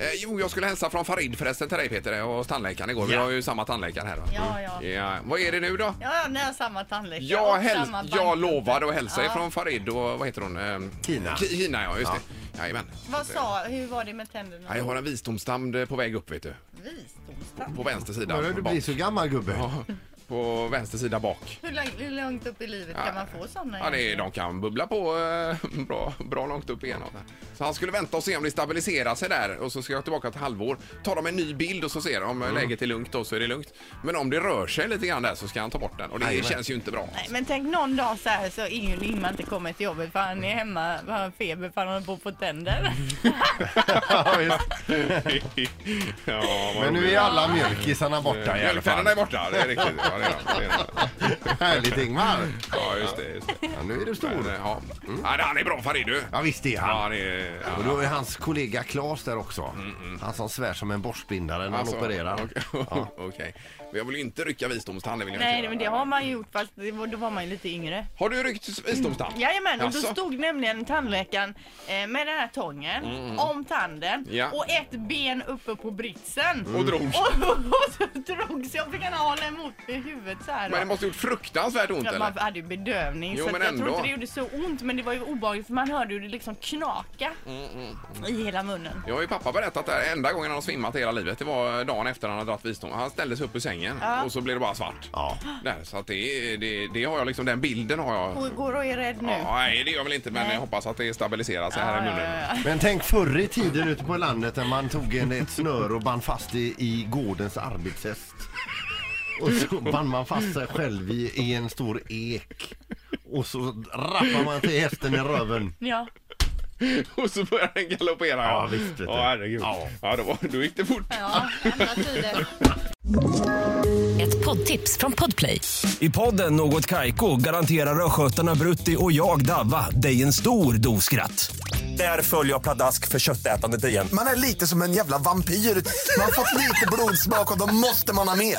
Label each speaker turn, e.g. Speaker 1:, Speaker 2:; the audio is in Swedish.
Speaker 1: Eh, jo, jag skulle hälsa från Farid förresten till dig Peter och hos tandläkaren igår. Vi
Speaker 2: Ja.
Speaker 1: har ju samma tandläkare här. va?
Speaker 3: Ja, ja.
Speaker 1: ja. Vad är det nu då?
Speaker 3: Ja, ja, ni har samma tandläkare
Speaker 1: Jag,
Speaker 3: och
Speaker 1: häl-
Speaker 3: samma
Speaker 1: jag
Speaker 3: bankgubbe.
Speaker 1: lovade att hälsa
Speaker 3: Ja.
Speaker 1: ifrån Farid och vad heter hon? Ehm,
Speaker 2: Tina.
Speaker 1: Ki- Kina, ja just det. Jajamän.
Speaker 3: Vad sa, hur var det med tänderna?
Speaker 1: Ja, jag har en visdomstand på väg upp vet du.
Speaker 3: Visdomstand.
Speaker 1: På vänster sida.
Speaker 2: Börjar du
Speaker 1: bak.
Speaker 2: bli så gammal gubbe?
Speaker 1: Ja, På vänster sida bak.
Speaker 3: Hur långt, hur långt upp i livet kan man få sådana?
Speaker 1: Ja, det är,
Speaker 3: egentligen?
Speaker 1: de kan bubbla på eh, bra, bra långt upp igenom. Så han skulle vänta och se om det stabiliserar sig där och så ska jag tillbaka till halvår. Tar de en ny bild och så ser de om
Speaker 2: Mm.
Speaker 1: läget är lugnt då så är det lugnt. Men om det rör sig lite grann där så ska han ta bort den och det
Speaker 2: Jajamän.
Speaker 1: känns ju inte bra.
Speaker 3: Nej, men tänk någon dag så här så Ingrid Lindman inte kommer till jobbet för han är hemma, för han har feber för han håller på att få tänder.
Speaker 1: Mm.
Speaker 2: Ja, visst.
Speaker 1: ja, vad
Speaker 2: Men nu
Speaker 1: roligt.
Speaker 2: är alla mjölkisarna borta i alla fall.
Speaker 1: Mjölktänderna är borta, det är riktigt. Ja, det är, de. det är, de.
Speaker 2: Härligt Ingmar!
Speaker 1: ja just det. Just det.
Speaker 2: Ja, nu är du
Speaker 1: Men,
Speaker 2: stor. Mm.
Speaker 1: eh, ja. Ja, han är bra Farid du.
Speaker 2: Ja, visst är
Speaker 1: Ja,
Speaker 2: han.
Speaker 1: han är...
Speaker 2: Och
Speaker 1: Ja.
Speaker 2: då är hans kollega Claes där också. Han som svär som en borstbindare när han
Speaker 1: mm. Alltså,
Speaker 2: opererar.
Speaker 1: Okej. okej. Men jag vill ju inte rycka visdomstand. vill jag inte
Speaker 3: Nej,
Speaker 1: göra.
Speaker 3: men det har man ju gjort fast det var, då var man ju lite yngre.
Speaker 1: Har du ryckt visdomstand?
Speaker 3: Mm. Jajamän, och då
Speaker 1: Jaså?
Speaker 3: stod nämligen tandläkaren eh, med den här tången om tanden
Speaker 1: Mm, Ja. Mm.
Speaker 3: och ett ben uppe på britsen.
Speaker 1: Och drogs.
Speaker 3: Och, och så drogs jag, fick han hålla emot med huvudet så här. då.
Speaker 1: Men det måste ha gjort fruktansvärt ont
Speaker 3: Ja, man
Speaker 1: eller?
Speaker 3: hade ju bedövning
Speaker 1: Jo,
Speaker 3: så
Speaker 1: men
Speaker 3: att jag
Speaker 1: ändå.
Speaker 3: tror inte det gjorde så ont men det var ju obehagligt för man hörde hur det liksom knaka
Speaker 1: Mm,
Speaker 3: i hela munnen.
Speaker 1: Jag har ju pappa berättat det här. Enda gången han har svimmat hela livet, det var dagen efter han hade dragit visdom. Han ställde sig upp ur sängen
Speaker 3: Ja.
Speaker 1: och så blev det bara svart.
Speaker 2: Ja.
Speaker 1: Där, så att det, det, det har jag liksom, den bilden har jag.
Speaker 3: Och går och är rädd nu.
Speaker 1: Ja, nej, det gör jag väl inte, men
Speaker 3: Nej.
Speaker 1: jag hoppas att det stabiliserar sig
Speaker 3: Ja,
Speaker 1: här i
Speaker 3: ja,
Speaker 1: munnen.
Speaker 3: ja, ja.
Speaker 2: Men tänk förr i tiden ute på landet när man tog en, ett snöre och band fast i, i gårdens arbetshäst. Och så band man fast sig själv i, i en stor ek. Och så rappar man till hästen i röven.
Speaker 3: Ja.
Speaker 1: Och så började den galoppera.
Speaker 2: Ja, visst, vet du.
Speaker 1: Ja, herregud. Ja,
Speaker 2: Ja.
Speaker 1: då, var- då gick det fort.
Speaker 3: Ja, andra tider.
Speaker 4: Ett poddtips från Podplay.
Speaker 5: I podden Något Kaiko garanterar östgötarna Brutti och jag, Davva, dig en stor dos skratt. Där följer jag pladask för köttätandet igen.
Speaker 6: Man är lite som en jävla vampyr. Man har fått lite blodsmak och då måste man ha mer.